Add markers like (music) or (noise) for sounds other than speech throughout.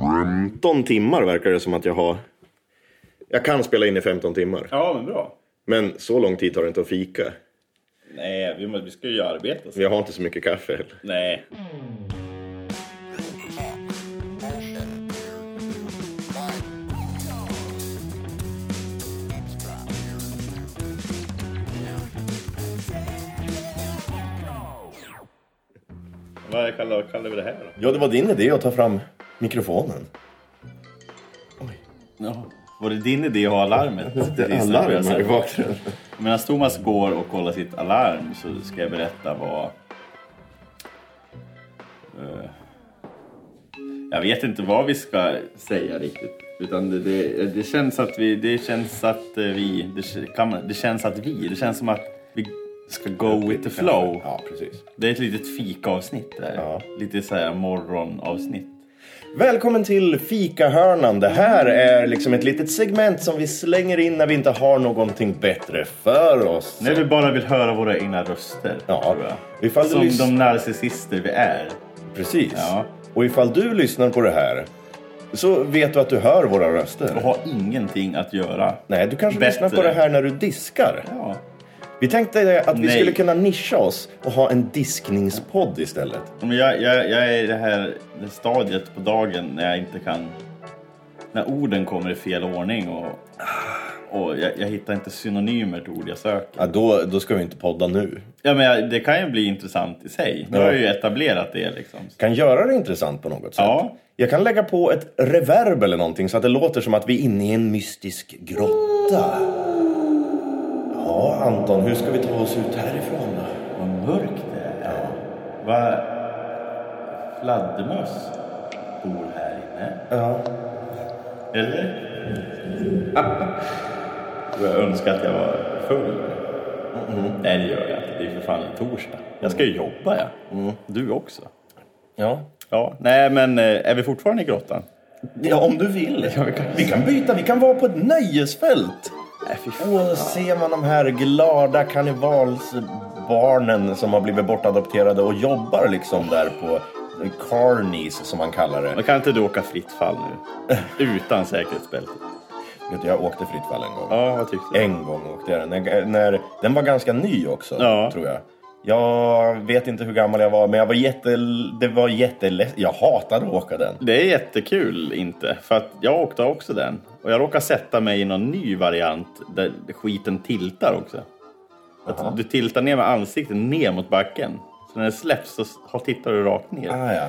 15 timmar verkar det som att jag har. Jag kan spela in i 15 timmar. Ja, men bra. Men så lång tid tar det inte att fika. Nej, vi, må- vi ska ju arbeta. Så. Jag har inte så mycket kaffe heller. Nej. Vad kallar, kallar vi det här då? Ja, det var din idé att ta fram mikrofonen. Var det din idé att ha alarmet? Precis när jag började Alarm i säga. bakgrunden. Medan Thomas går och kollar sitt alarm så ska jag berätta vad... Eh, Jag vet inte vad vi ska säga riktigt. Utan det, det, det känns att vi... Det känns att eh, vi... Det, k- kan man, det känns att vi... Det känns som att vi ska go with the flow. Ja, precis. Det är ett litet fikaavsnitt där. Ja. Lite så här morgonavsnitt. Välkommen till fikahörnan. Det här är liksom ett litet segment som vi slänger in när vi inte har någonting bättre för oss. När vi bara vill höra våra egna röster. Ja, tror jag. ifall du Som lys- de narcissister vi är. Precis. Ja. Och ifall du lyssnar på det här så vet du att du hör våra röster. Och har ingenting att göra. Nej, du kanske Bättre. lyssnar på det här när du diskar. Ja. Vi tänkte att vi Nej. skulle kunna nischa oss och ha en diskningspodd istället. Men jag, jag, jag är i det här stadiet på dagen när jag inte kan... När orden kommer i fel ordning och, och jag, jag hittar inte synonymer till ord jag söker. Ja, då, då ska vi inte podda nu. Ja, men jag, det kan ju bli intressant i sig. Nu Ja. har jag ju etablerat det liksom. Kan göra det intressant på något sätt. Ja. Jag kan lägga på ett reverb eller någonting så att det låter som att vi är inne i en mystisk grotta. Ja, Anton, hur ska vi ta oss ut härifrån då? Vad mörkt det är. Vad... Fladdermöss bor här inne. Ja. Eller? jag önskar att jag var full. Nej, det gör jag inte. Det är för fan en torsdag. Jag ska ju jobba, ja. Du också. Ja. Ja, nej men eh, är vi fortfarande i grottan? ja, om du vill. vi kan- Vi kan byta, vi kan vara på ett nöjesfält. Nej, fy fan. Och då ser man de här glada karnevalsbarnen som har blivit bortadopterade och jobbar liksom där på carnies som man kallar det. Men kan inte du åka fritt fall nu? (laughs) Utan säkerhetsbälte. Vet du, jag åkte fritt fall en gång. Ja, vad tyckte du? En gång åkte jag den. När, när, den var ganska ny också, Ja. tror jag. Jag vet inte hur gammal jag var, men jag var jätte, det var jättelätt. Jag hatade att åka den. Det är jättekul inte, för att jag åkte också den. Och jag råkade sätta mig i någon ny variant där skiten tiltar också. Att du tiltar ner med ansiktet ner mot backen. Så när det släpps så har- tittar du rakt ner. Ah, ja.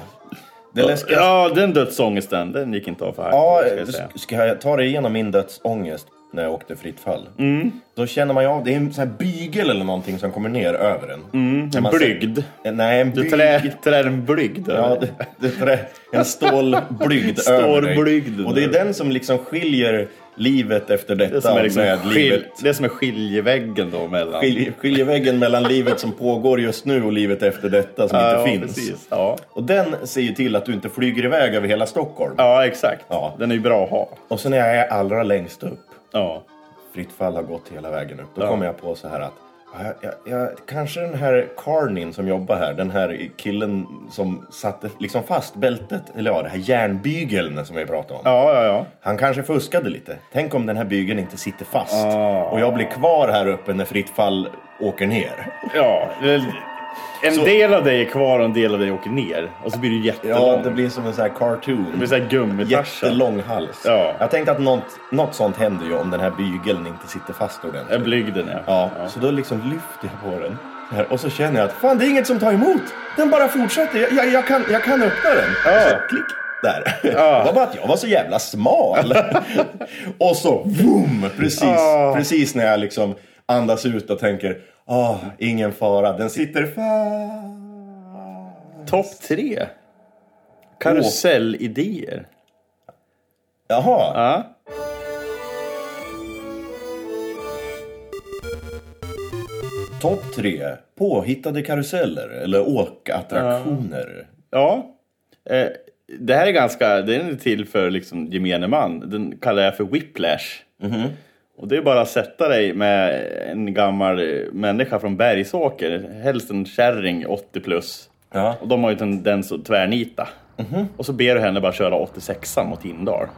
Det läskiga... Ja, den dödsångesten, den gick inte av för här. Ja, ska jag s- säga. ska jag ta dig igenom min dödsångest när jag åkte fritt fall? Mm. Då känner man ju av, det är en sån här bygel eller någonting som kommer ner över en. När Mm. En man ser- blygd. Eh, Nej, en Du bygel. trär, trär en blygd. Ja, över. det, det trä, en stålblygd över dig. Stålblygd. Och det är den som liksom skiljer livet efter detta Det som är, liksom med skil, livet. det som är skiljeväggen då mellan... Skil, skiljeväggen mellan livet som pågår just nu och livet efter detta som ja, inte ja, finns. Precis. Ja. Och den ser ju till att du inte flyger iväg över hela Stockholm. ja, exakt. Ja. Den är ju bra att ha. Och sen är jag allra längst upp. Ja. fritt fall har gått hela vägen upp. Då kommer jag på så här att ja, jag, jag, kanske den här Carnin som jobbar här, den här killen som satte liksom fast bältet, eller ja, det här järnbygeln som vi pratade om. Ja, ja, ja. Han kanske fuskade lite. Tänk om den här bygeln inte sitter fast Ah. och jag blir kvar här uppe när fritt fall åker ner. ja. det- En Så- del av dig är kvar och en del av dig åker ner. Och så blir du jättelång. Ja, det det blir som en sån här cartoon. blir så här gummitarsa. Jättelång hals. Ja. Jag tänkte att något, något sånt händer ju om den här bygeln inte sitter fast ordentligt. Ja, Blygden, ja. Ja, så då liksom lyfter jag på den. Så här, och så känner jag att fan, det är inget som tar emot. Den bara fortsätter. Jag, jag, jag, kan, jag kan öppna den. Ja. Och Så klick. Där. Ja. (laughs) Det var bara att jag var så jävla smal. (laughs) och så boom! Precis, Ja. precis när jag liksom andas ut och tänker ah, ingen fara. Den sitter fast. Topp tre. Karusellidéer. Jaha. Ja. Topp tre. Påhittade karuseller eller åkattraktioner. ja. Eh, det här är ganska... Den är till för liksom, gemene man. Den kallar jag för whiplash. Mhm. Och det är bara att sätta dig med en gammal eh, människa från Bergsåker. Helst en kärring, 80 plus. Ja. Och de har ju tendens att tvärnita. Mhm. Och så ber du henne bara köra 86 mot Hindar.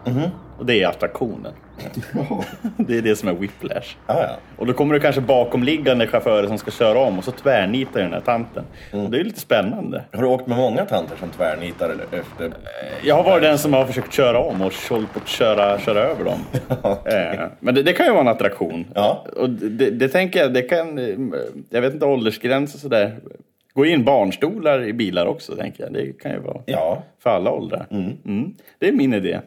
Och det är attraktionen. (laughs) Ja, Det är det som är whiplash. ja. Och då kommer det kanske bakomliggande chaufförer som ska köra om och så tvärnitar den här tanten. Mm. Och det är lite spännande. Har du åkt med många tanter som tvärnitar eller efter? Jag har varit den som har försökt köra om och hållit på att köra, köra (laughs) över dem. Eh, Men det, det kan ju vara en attraktion. Ja. Och det, det, det tänker jag, det kan... eh, Jag vet inte, åldersgräns och sådär. Gå in barnstolar i bilar också, tänker jag. Det kan ju vara Ja. för alla åldrar. Mm. Det är min idé.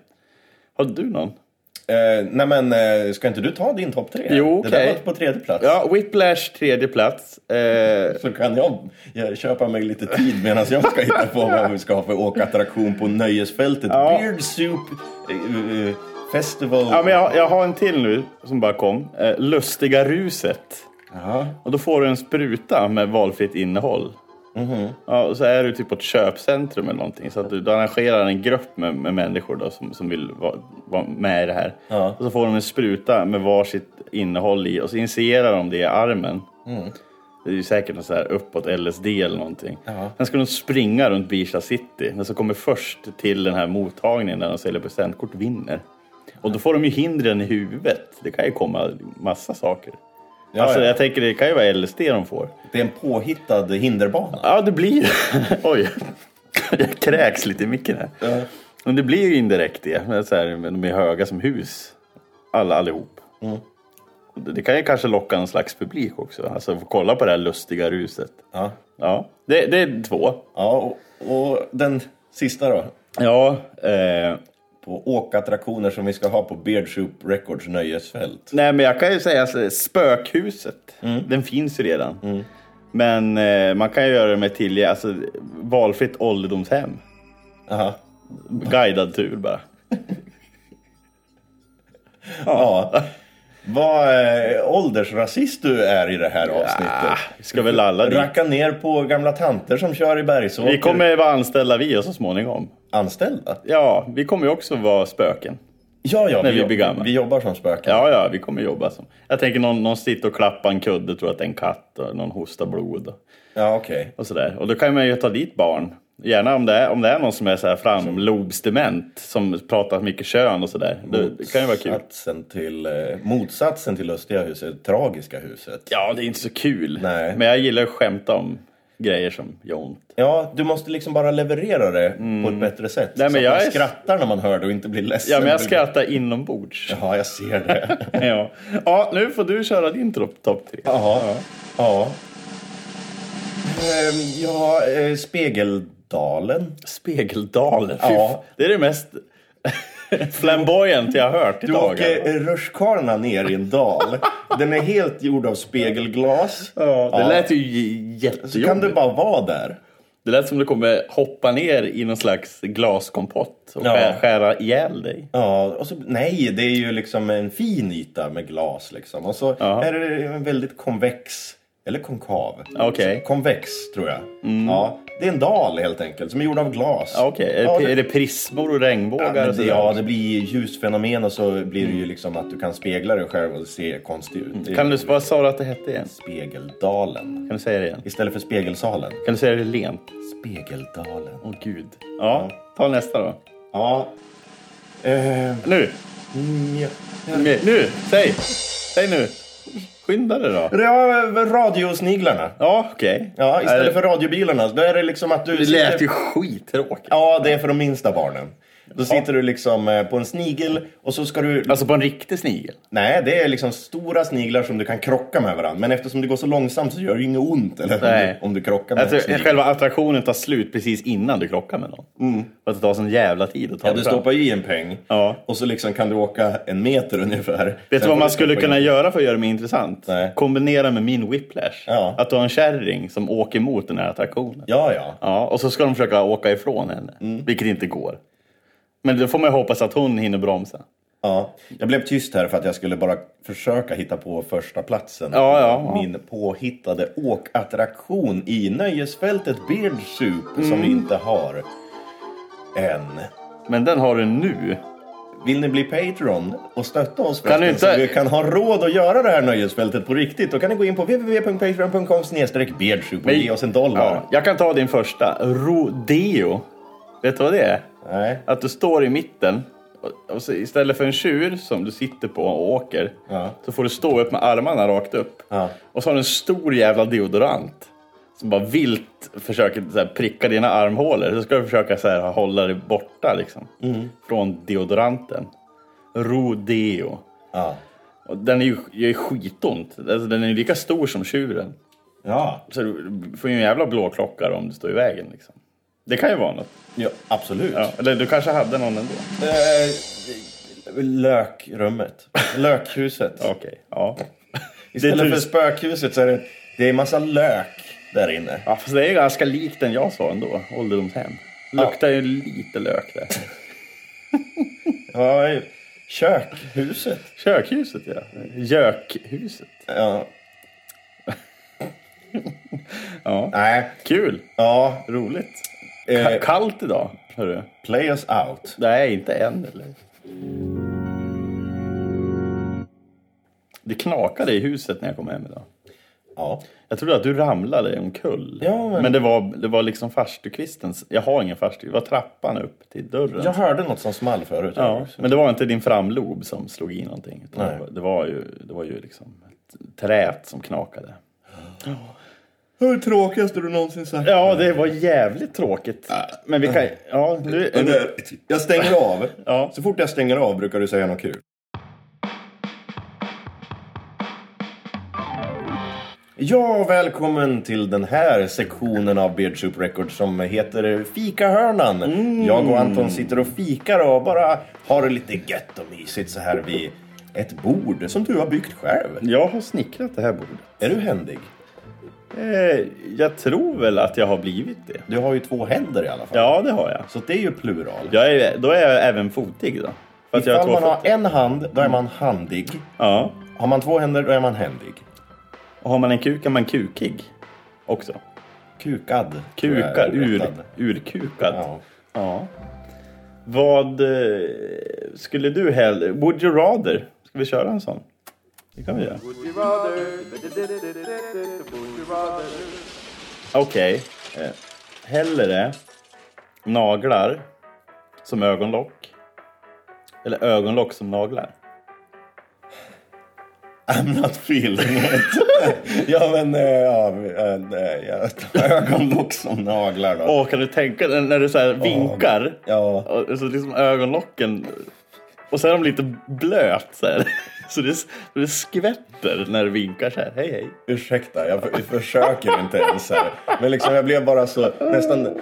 Har du någon? Eh, nej men, eh, ska inte du ta din topp tre? Jo, Det där okej. var på tredje plats. Ja, Whiplash, tredje plats. Eh, Så kan jag, jag köpa mig lite tid medan jag ska hitta på vad vi ska ha för åkattraktion på nöjesfältet. Beard Soup eh, eh, Festival. Ja, men jag, jag har en till nu som bara kom. Eh, Lustiga ruset. Jaha. Och då får du en spruta med valfritt innehåll. Mhm. Ja, och så är du typ på ett köpcentrum eller någonting. Så att du, du arrangerar en grupp med, med människor då, som, som vill vara vara med i det här. Ja. Och så får de en spruta med varsitt innehåll i och så initierar de det i armen. Mm. Det är ju säkert något så här uppåt LSD eller någonting. Ja. Sen ska de springa runt Birsta city. Den som kommer först till den här mottagningen där de säljer presentkort vinner. Och då får de ju hindren i huvudet. Det kan ju komma massa saker. Ja, alltså, ja. Jag tänker det kan ju vara LSD de får. Det är en påhittad hinderbana. Ja, det blir... (laughs) Oj, jag kräks lite i micken här. Men det blir ju indirekt det. Men så här, men de är höga som hus, alla, allihop. Det det kan ju kanske locka en slags publik också. Alltså, få kolla på det här lustiga ruset. Ja, Ja, det, det är två. ja och, och den sista då? Ja, eh, På åkattraktioner som vi ska ha på Beard Soup Records nöjesfält. nej men jag kan ju säga så, här, spökhuset. Den finns ju redan. Men eh, man kan ju göra det med till, alltså valfritt ålderdomshem. Aha. Guidad tur bara. Ja. Vad eh, åldersrasist du är i det här avsnittet. Ah, Vi ska väl alla dit. Racka ner på gamla tanter som kör i Bergsåker. Vi kommer vara anställda vi så småningom. Anställda? Ja, vi kommer ju också vara spöken. Ja, ja. När vi jobb- blir gamla. vi jobbar som spöken. Ja, ja, vi kommer jobba som. Jag tänker någon, någon sitter och klappar en kudde, tror att det är en katt och någon hostar blod och, Ja, okej. och sådär. Och då kan man ju ta dit barn. Gärna om det är, om det är någon som är så här framlobsdement som pratar mycket kön och sådär. Det, det kan ju vara kul. Motsatsen till, eh, motsatsen till lustiga huset, tragiska huset. Ja, det är inte så kul. Nej. Men jag gillar att skämta om grejer som gör ont. Ja, du måste liksom bara leverera det på ett bättre sätt. Mm. Nej, men så att jag man är- skrattar när man hör det och inte blir ledsen. Ja, men jag skrattar inombords. Ja, jag ser (laughs) det. Ja, ja nu får du köra din topp top tre. Jaha. Ja. Ehm, Ja, eh, Spegeldalen. Spegeldalen. Ja. Ja. Det är det mest (laughs) flamboyant jag har hört i alltså. Du dagarna. åker eh, rutschkana ner i en dal. Den är helt gjord av spegelglas. Ja, det Ja. lät ju j- Så kan jättejobbigt. du bara vara där. Det lät som du kommer hoppa ner i någon slags glaskompott och Ja. skär, skära ihjäl dig. Ja, och så, nej, det är ju liksom en fin yta med glas liksom. Och så Ja. är det en väldigt konvex, eller konkav. Okej. Mm. Konvex tror jag. Ja, det är en dal helt enkelt som är gjord av glas. Ja, Okej, är, Ja, det- det- är det prismor och regnbågar? Ja, och det, sådär? Mm. ja, det blir ljusfenomen och så blir det ju liksom att du kan spegla dig själv och se konstig ut. Det är Kan du, vad sa du att det hette igen? Spegeldalen. Kan du säga det igen? Istället för spegelsalen. Kan du säga det lent? Spegeldalen. Åh gud. Ja, ta nästa då. Ja. Eh, mm, Nu! nja. Nu! Säg! Säg nu! Skynda dig då. Ja, radiosniglarna. Ja, okej. Ja, istället för radiobilarna. Då är det liksom att du Det lät sitter... ju skittråkigt. Ja, det är för de minsta barnen. Då sitter du liksom eh, på en snigel och så ska du... Alltså på en riktig snigel. Nej, det är liksom stora sniglar som du kan krocka med varandra. Men eftersom det går så långsamt så gör det ju inget ont eller, om, Nej. du, om du krockar med Alltså, en snigel. själva attraktionen tar slut precis innan du krockar med någon. För att det tar sån jävla tid att Mm. ta Ja, det du fram. stoppar ju i en peng Ja. och så liksom kan du åka en meter ungefär. Vet du Sen får vad man skulle stoppa in- kunna göra för att göra det mer intressant? Nej. Kombinera med min whiplash. Ja. Att du har en kärring som åker mot den här attraktionen. Ja, ja. Ja, och så ska de försöka åka ifrån henne, Mm. vilket inte går. Men då får man ju hoppas att hon hinner bromsa. Ja, jag blev tyst här för att jag skulle bara försöka hitta på första platsen. Ja, ja, ja. Min påhittade åkattraktion i nöjesfältet Beard Soup som Mm. vi inte har än. Men den har du nu. Vill ni bli Patreon och stötta oss Kan du förresten, inte- så vi kan ha råd att göra det här nöjesfältet på riktigt? Då kan ni gå in på www.patreon.com snedstreck beardsoup och Men- ge oss en dollar. Ja, jag kan ta din första. Rodeo. Vet du vad det är? Nej. Att du står i mitten och, och så istället för en tjur som du sitter på och åker Ja. så får du stå upp med armarna rakt upp. Ja. Och så har du en stor jävla deodorant som bara vilt försöker så här, pricka dina armhålor. Så ska du försöka så här, hålla dig borta liksom, Mm. från deodoranten. Rodeo. Ja. Och den är ju gör ju skitont. Alltså, den är ju lika stor som tjuren. Ja. Så du får ju en jävla blåklocka om du står i vägen. Liksom. Det kan ju vara något. ja absolut. Ja, eller du kanske hade någon ändå? Eh, lökrummet. Lökhuset. Okej, ja. Istället Det är för typ- spökhuset så är det, det är massa lök där inne. ja. Fast det är ganska likt den jag sa ändå, ålderdomshem. Luktar ju lite lök där. Ja, kökhuset. Kökhuset ja. Gökhuset. Ja. Ja. Nej. Kul! Ja. Roligt. Ka- Eh, Kallt idag, hörru. play us out. Nej, inte än eller? Det knakade i huset när jag kom hem idag. Ja. Jag trodde att du ramlade omkull. Ja, men- men det, var, det var liksom farstukvistens... Jag har ingen farstu. Det var trappan upp till dörren. Jag hörde något som small förut. Ja, men det var inte din framlob som slog i någonting. Utan Nej. det var- det var ju, det var ju liksom ett trät som knakade. Det var det tråkigaste du någonsin sagt. Ja, det var jävligt tråkigt. Mm. Men vi kan... Ja, nu, Det där, Jag stänger av. Ja. Så fort jag stänger av brukar du säga något kul. Ja, välkommen till den här sektionen av Beardsoup Records som heter Fikahörnan. Mm. Jag och Anton sitter och fikar och bara har det lite gött och mysigt så här vid ett bord som du har byggt själv. jag har snickrat det här bordet. Är du händig? Eh, jag tror väl att jag har blivit det. Du har ju två händer i alla fall. Ja, det har jag. Så det är ju plural. jag är, då är jag även fotig då. För att jag har Ifall två man har fötter. en hand, då är man handig. Ja. Har man två händer, då är man händig. Och har man en kuk är man kukig också. Kukad. tror jag Kukad, är ur, rättad. urkukad. Ja. Ja. Vad eh, skulle du hellre... Would you rather? Ska vi köra en sån? Det kan vi göra. Okej. Eh, hellre naglar som ögonlock. Eller ögonlock som naglar. I'm not feeling it. (laughs) ja, men eh, ja, eh, nej, jag tar ögonlock som naglar då. Åh, kan du tänka dig när du så här vinkar? Ja. Och så liksom ögonlocken. Och så är de lite blöt så här. (laughs) Så det, så det skvätter när du vinkar så här. Hej hej. Ursäkta, jag för- försöker inte ens här. Men liksom, jag blev bara så nästan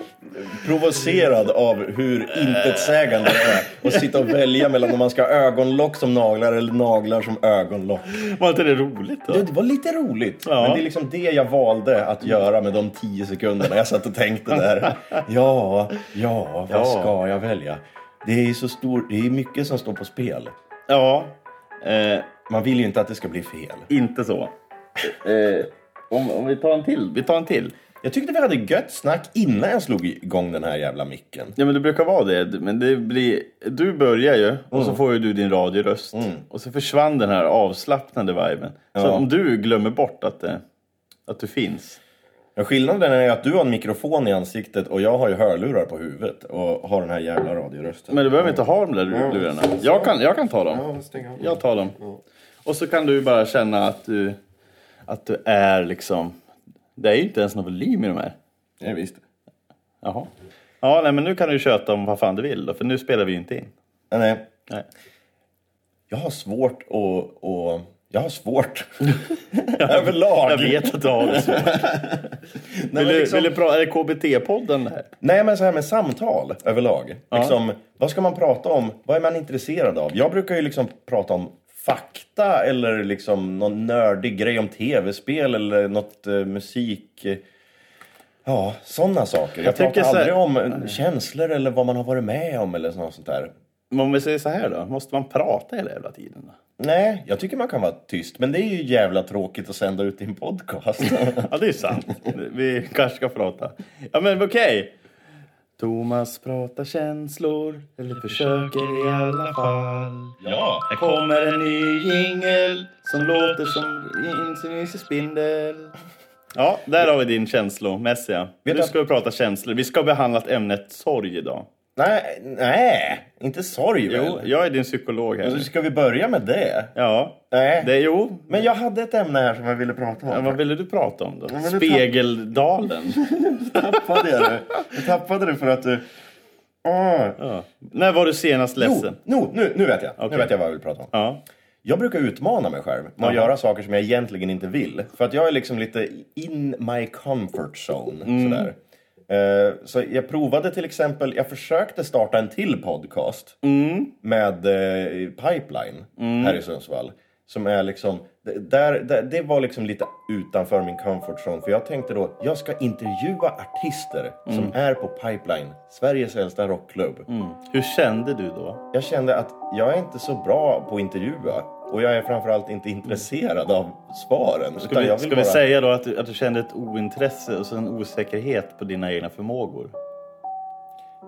provocerad av hur intetsägande det är att sitta och välja mellan om man ska ha ögonlock som naglar eller naglar som ögonlock. Var inte det roligt då? Ja, det var lite roligt. Ja. Men det är liksom det jag valde att göra med de tio sekunderna jag satt och tänkte där. Ja, ja, vad Ja. ska jag välja? Det är ju så stor, det är mycket som står på spel. Ja. Eh, Man vill ju inte att det ska bli fel. inte så. Eh, om, om vi tar en till. Vi tar en till. Jag tyckte vi hade gött snack innan jag slog igång den här jävla micken. Ja men det brukar vara det. Men det blir, du börjar ju och så får ju du din radioröst. Och så försvann den här avslappnade viben. Så Ja. om du glömmer bort att, det, att du finns. Ja, Skillnaden är att du har en mikrofon i ansiktet och jag har ju hörlurar på huvudet och har den här jävla radiorösten. Men du behöver inte ha de där lurarna. Jag kan, jag kan ta dem. Jag tar dem. Och så kan du bara känna att du, att du är liksom... Det är ju inte ens någon volym i de här. Ja, visst. Jaha. Ja, nej, men nu kan du köta om vad fan du vill då, för nu spelar vi ju inte in. Ja, Nej. Nej. Jag har svårt att... Och, jag har (laughs) svårt. Överlag. Jag vet att du har det så. Nej, Vill men du, liksom, vill du pra- är det KBT-podden det här? nej men så här med samtal överlag. Liksom, vad ska man prata om? Vad är man intresserad av? Jag brukar ju liksom prata om fakta eller liksom någon nördig grej om tv-spel eller något eh, musik. Ja, sådana saker. Jag, tänker pratar så här- aldrig om eh, känslor eller vad man har varit med om eller något sånt där. Men om vi säger så här då, måste man prata hela jävla tiden? Då? Nej, jag tycker man kan vara tyst. Men det är ju jävla tråkigt att sända ut i en (laughs) podcast. (laughs) Ja, det är sant. Vi kanske ska prata. Ja, men okej. Thomas pratar känslor, eller försöker i alla fall. ja, Här kommer en ny jingel som låter som en insinuös spindel. Ja, där har vi din känslomässiga. Vet nu du- ska vi prata känslor. Vi ska behandla ämnet sorg idag. Nej, nej, inte sorg Jo, väl? jag är din psykolog här. Så nu. Ska vi börja med det? Ja, Nej. det, jo. Men jag hade ett ämne här som jag ville prata om. Ja, vad ville du prata om då? men det- Spegeldalen. tappade jag (laughs) det. Jag tappade det för att du... Ah. Ja. När var du senast Jo, ledsen? nu, nu, nu vet jag. Nu Alltså. Okej. vet jag vad jag vill prata om. Ja. Jag brukar utmana mig själv med att göra saker som jag egentligen inte vill. För att jag är liksom lite in my comfort zone. Sådär. Eh, Så jag provade till exempel, jag försökte starta en till podcast med eh, Pipeline här i Sundsvall. Som är liksom, d- där, där, det var liksom lite utanför min comfort zone. För jag tänkte då, jag ska intervjua artister som är på Pipeline, Sveriges äldsta rockklubb. Hur kände du då? Jag kände att jag är inte så bra på att intervjua och jag är framförallt inte intresserad av svaren. Ska, utan vi, jag ska vill vi bara- säga då att du, att du kände ett ointresse och så en osäkerhet på dina egna förmågor?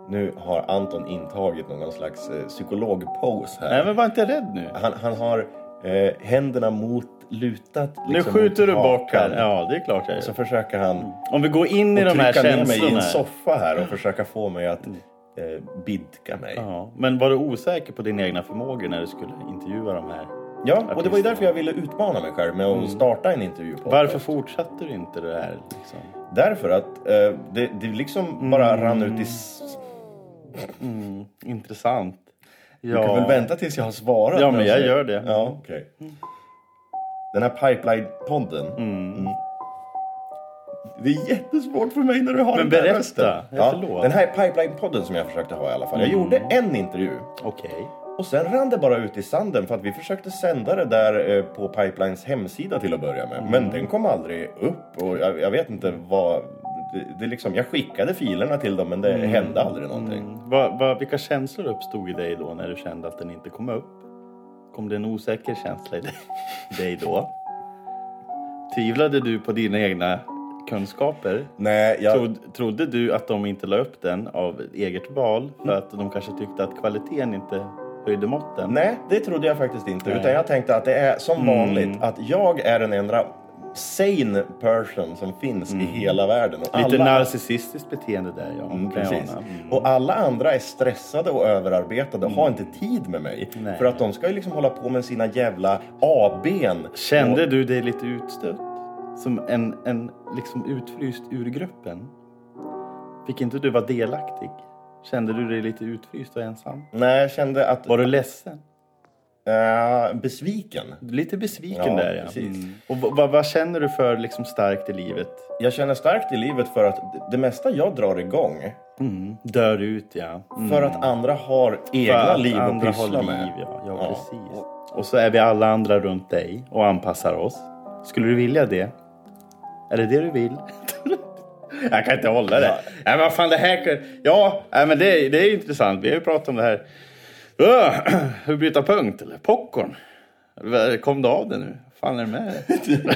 Nu har Anton intagit någon slags eh, psykologpose här. Nej, men var inte rädd nu. Han, han har eh, händerna mot lutat. Nu liksom, skjuter mot du bort hakan. här. Ja, det är klart jag gör. Så försöker han Alltså, Om vi går in i de här trycka ner mig i känslorna. en soffa här och försöka få mig att eh, bidka mig. Ja, men var du osäker på dina egna förmågor när du skulle intervjua de här? Ja, och det var ju Artisterna. därför jag ville utmana mig själv med att starta en intervju. Mm. Varför fortsatte du inte det här? Liksom? Därför att eh, det, det Mm. liksom bara rann ut i s- Intressant. Du kan väl Ja. vänta tills jag har svarat? Ja, men med att jag säga- gör det. Ja, okej. Den här pipeline-podden. Mm. Det är jättesvårt för mig när du har Men den där berätta. rösten. Ja, förlåt. Mm. den här pipeline-podden som jag försökte ha i alla fall. Jag gjorde en intervju. Okej. Och sen rann det bara ut i sanden för att vi försökte sända det där eh, på Pipelines hemsida till att börja med. Mm. Men den kom aldrig upp och jag, jag vet inte vad... Det, det är liksom, jag skickade filerna till dem men det Mm. hände aldrig någonting. Vad- vad- vilka känslor uppstod i dig då när du kände att den inte kom upp? Kom det en osäker känsla i dig, (laughs) dig då? Tvivlade du på dina egna kunskaper? Nej, jag... Trod, trodde du att de inte la upp den av eget val för Mm. att de kanske tyckte att kvaliteten inte höjde måtten? Nej, det trodde jag faktiskt inte. Utan jag tänkte att det är som Mm. vanligt att jag är den enda sane person som finns i hela världen. Och Mm. Lite alla, narcissistiskt beteende där, ja. Mm, kan jag precis. ana. Mm. Och alla andra är stressade och överarbetade och har inte tid med mig. Nej. För att de ska ju liksom hålla på med sina jävla ABn. Kände du dig lite utstött? Som en, en liksom utfryst ur gruppen? Fick inte du vara delaktig? Kände du dig lite utfryst och ensam? Nej, jag kände att... Var du ledsen? eh, besviken. Lite besviken Ja, där ja. Mm. precis. Och vad, vad, vad känner du för liksom starkt i livet? Jag känner starkt i livet för att det- det mesta jag drar igång Dör ut ja. Mm. för att andra har För egna att liv att andra har pyssla med. liv, Ja, ja, Ja. precis. Och så är vi alla andra runt dig och anpassar oss. Skulle du vilja det? Är det det du vill? (laughs) Jag kan inte hålla det. Nej, men vad fan, det här... kan- Ja, nej, men det, det är ju intressant. Vi har ju pratat om det här. Öh, (clears throat) Hur bryta punkt? Eller popcorn? Kom du av det nu? fan är det med dig? (laughs)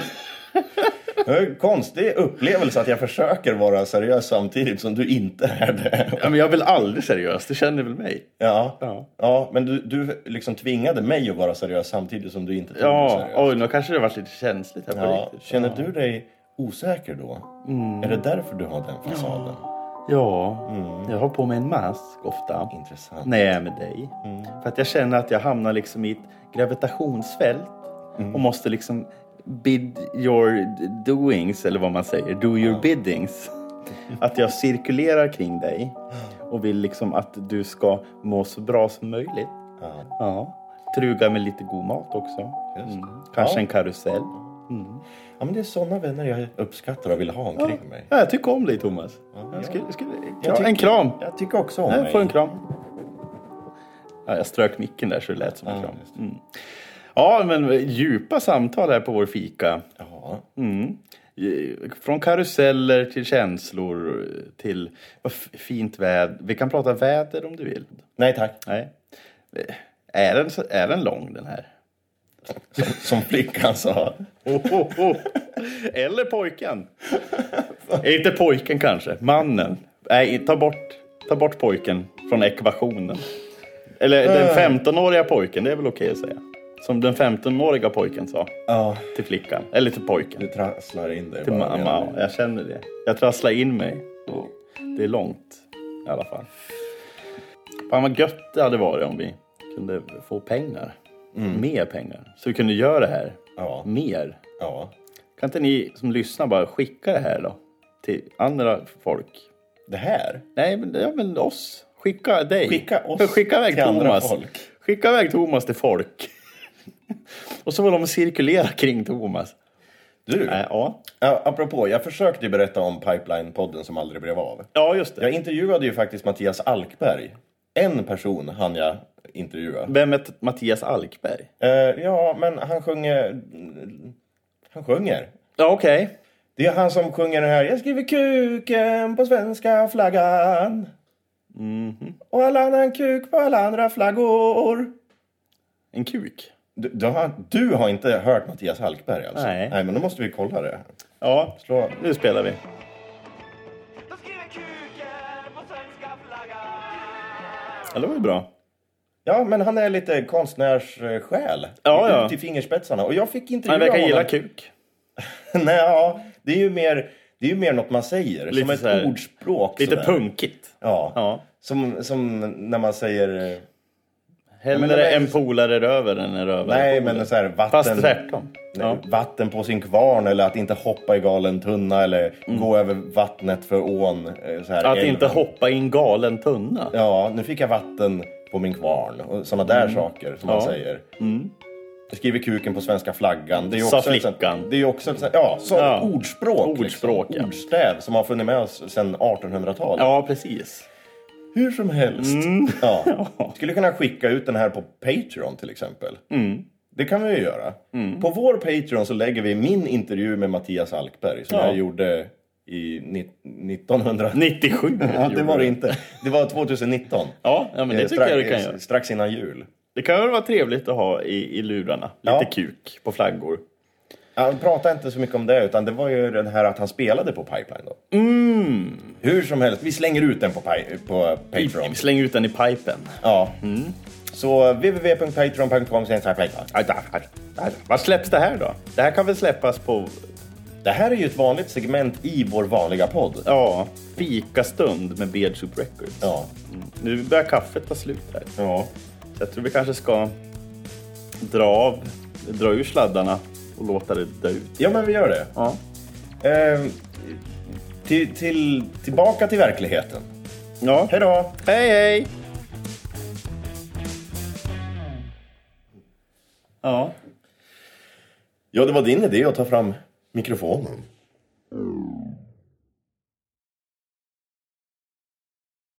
Det är en konstig upplevelse att jag försöker vara seriös samtidigt som du inte är det. Ja, men jag är väl aldrig seriös, det känner väl mig? Ja, Ja. ja men du, du liksom tvingade mig att vara seriös samtidigt som du inte tog mig Ja, seriös. oj, nu kanske det varit lite känsligt här på Ja, riktigt. Mm. känner du dig osäker då? Är det därför du har den fasaden? Ja, Mm. jag har på mig en mask ofta. Intressant. när jag är med dig. Mm. För att jag känner att jag hamnar liksom i ett gravitationsfält Mm. och måste liksom bid your doings, eller vad man säger, do your (laughs) biddings. Att jag cirkulerar kring dig och vill liksom att du ska må så bra som möjligt. Ja. Ja. Truga med lite god mat också. Mm. Just. Kanske Ja. en karusell. ja, men det är sådana vänner jag uppskattar och vill ha omkring mig. Ja, jag tycker om dig Thomas. Jag skulle, jag skulle, Jag tycker- en kram! Jag tycker också om Nej, mig. får en kram. Ja, jag strök micken där så det lät som en kram. Mm. Ja, men djupa samtal här på vår fika. Ja. Mm. Från karuseller till känslor till vad f- fint väder. Vi kan prata väder om du vill. Nej tack. Nej. Eh, Är den, så- är den lång den här? Som, som flickan sa. Oh, oh, oh. (laughs) Eller pojken. Inte pojken kanske, mannen. Nej, ta bort, ta bort pojken från ekvationen. Eller den 15-åriga pojken, det är väl okej att säga. Som den 15-åriga pojken sa Ja, till flickan. Eller till pojken. du trasslar in dig. Till bara mamma. redan. Jag känner det. Jag trasslar in mig. Och det är långt i alla fall. Fan vad gött det hade varit om vi kunde få pengar. Mer pengar. Så vi kunde göra det här. Ja, Mer. ja. Kan inte ni som lyssnar bara skicka det här då? Till andra folk. Det här? Nej, men, ja, men oss. Skicka dig. Skicka oss skicka iväg till andra Thomas. folk. Skicka iväg Thomas till folk. (laughs) och så får de cirkulera kring Thomas. Du, Äh, ja. ja, apropå, jag försökte ju berätta om Pipeline-podden som aldrig blev av. ja, just det. Jag intervjuade ju faktiskt Mattias Alkberg. En person hann jag intervjua. Vem är T- Mattias Alkberg? Eh, ja, men han sjunger... Han sjunger. Ja, okej. Det är han som sjunger den här Jag skriver kuken på svenska flaggan. Mhm. Och alla annan kuk på alla andra flaggor. En kuk. Du, du, har, du har inte hört Mattias Alkberg alltså? Nej. Nej, men då måste vi kolla det. Ja, Slå. nu spelar vi. Då skriver kuken på svenska flaggan. Ja, det var ju bra. Ja, men han är lite konstnärssjäl. Ja, ja. Till fingerspetsarna. Och jag fick inte Han (laughs) verkar gilla kuk. Nej, ja, det är ju mer, det är ju mer något man säger. Lite som ett så här- ordspråk. Lite sådär. punkigt. Ja. Ja. Som, som när man säger... eh, Hellre det är- en polare röver än en rövare Nej, polare. men så här, vatten... Fast tvärtom. Ja. Vatten på sin kvarn eller att inte hoppa i galen tunna eller gå över vattnet för ån. eh, Så här, Mm. Att älven. inte hoppa i en galen tunna. Ja, nu fick jag vatten på min kvarn. Och sådana där saker som man Mm. Ja. Mm. säger. Jag Skriver kuken på svenska flaggan. Det är ju också Sa ett sånt- flickan. Det är ju också ett sånt- ja, så Ja. ordspråk. Ordspråk, liksom. ja. Ordstäv som har funnits med oss sedan 1800-talet. Ja, Mm. precis. Hur som helst. (laughs) Ja. Skulle kunna skicka ut den här på Patreon till exempel. Mm. Det kan vi ju göra. På vår Patreon så lägger vi min intervju med Mattias Alkberg som Ja. jag gjorde i ni- 1900... 97. Ja, det var det inte. Det var 2019. Ja, ja, men det Eh, tycker jag strax- du kan göra. Strax innan jul. Det kan väl vara trevligt att ha i, i lurarna. Lite Ja. kuk på flaggor. Han pratade inte så mycket om det utan det var ju den här att han spelade på Pipeline då. Mm. Hur som helst, vi slänger ut den på, pi- på Patreon. Vi slänger ut den i pipen. Ja. Mm. Så www.patreon.com sen så här Pipeline. Aj, aj, aj, aj. Vad släpps det här då? Det här kan väl släppas på Det här är ju ett vanligt segment i vår vanliga podd. ja, fikastund med Beard Soup Records. Ja. Nu börjar kaffet ta slut här. Ja. Så jag tror vi kanske ska dra av, dra ur sladdarna och låta det dö ut. Ja, men vi gör det. Ja. Ehm, till, till, tillbaka till verkligheten. ja. Hej då! Hej, hej! Ja. Ja, det var din idé att ta fram mikrofonen.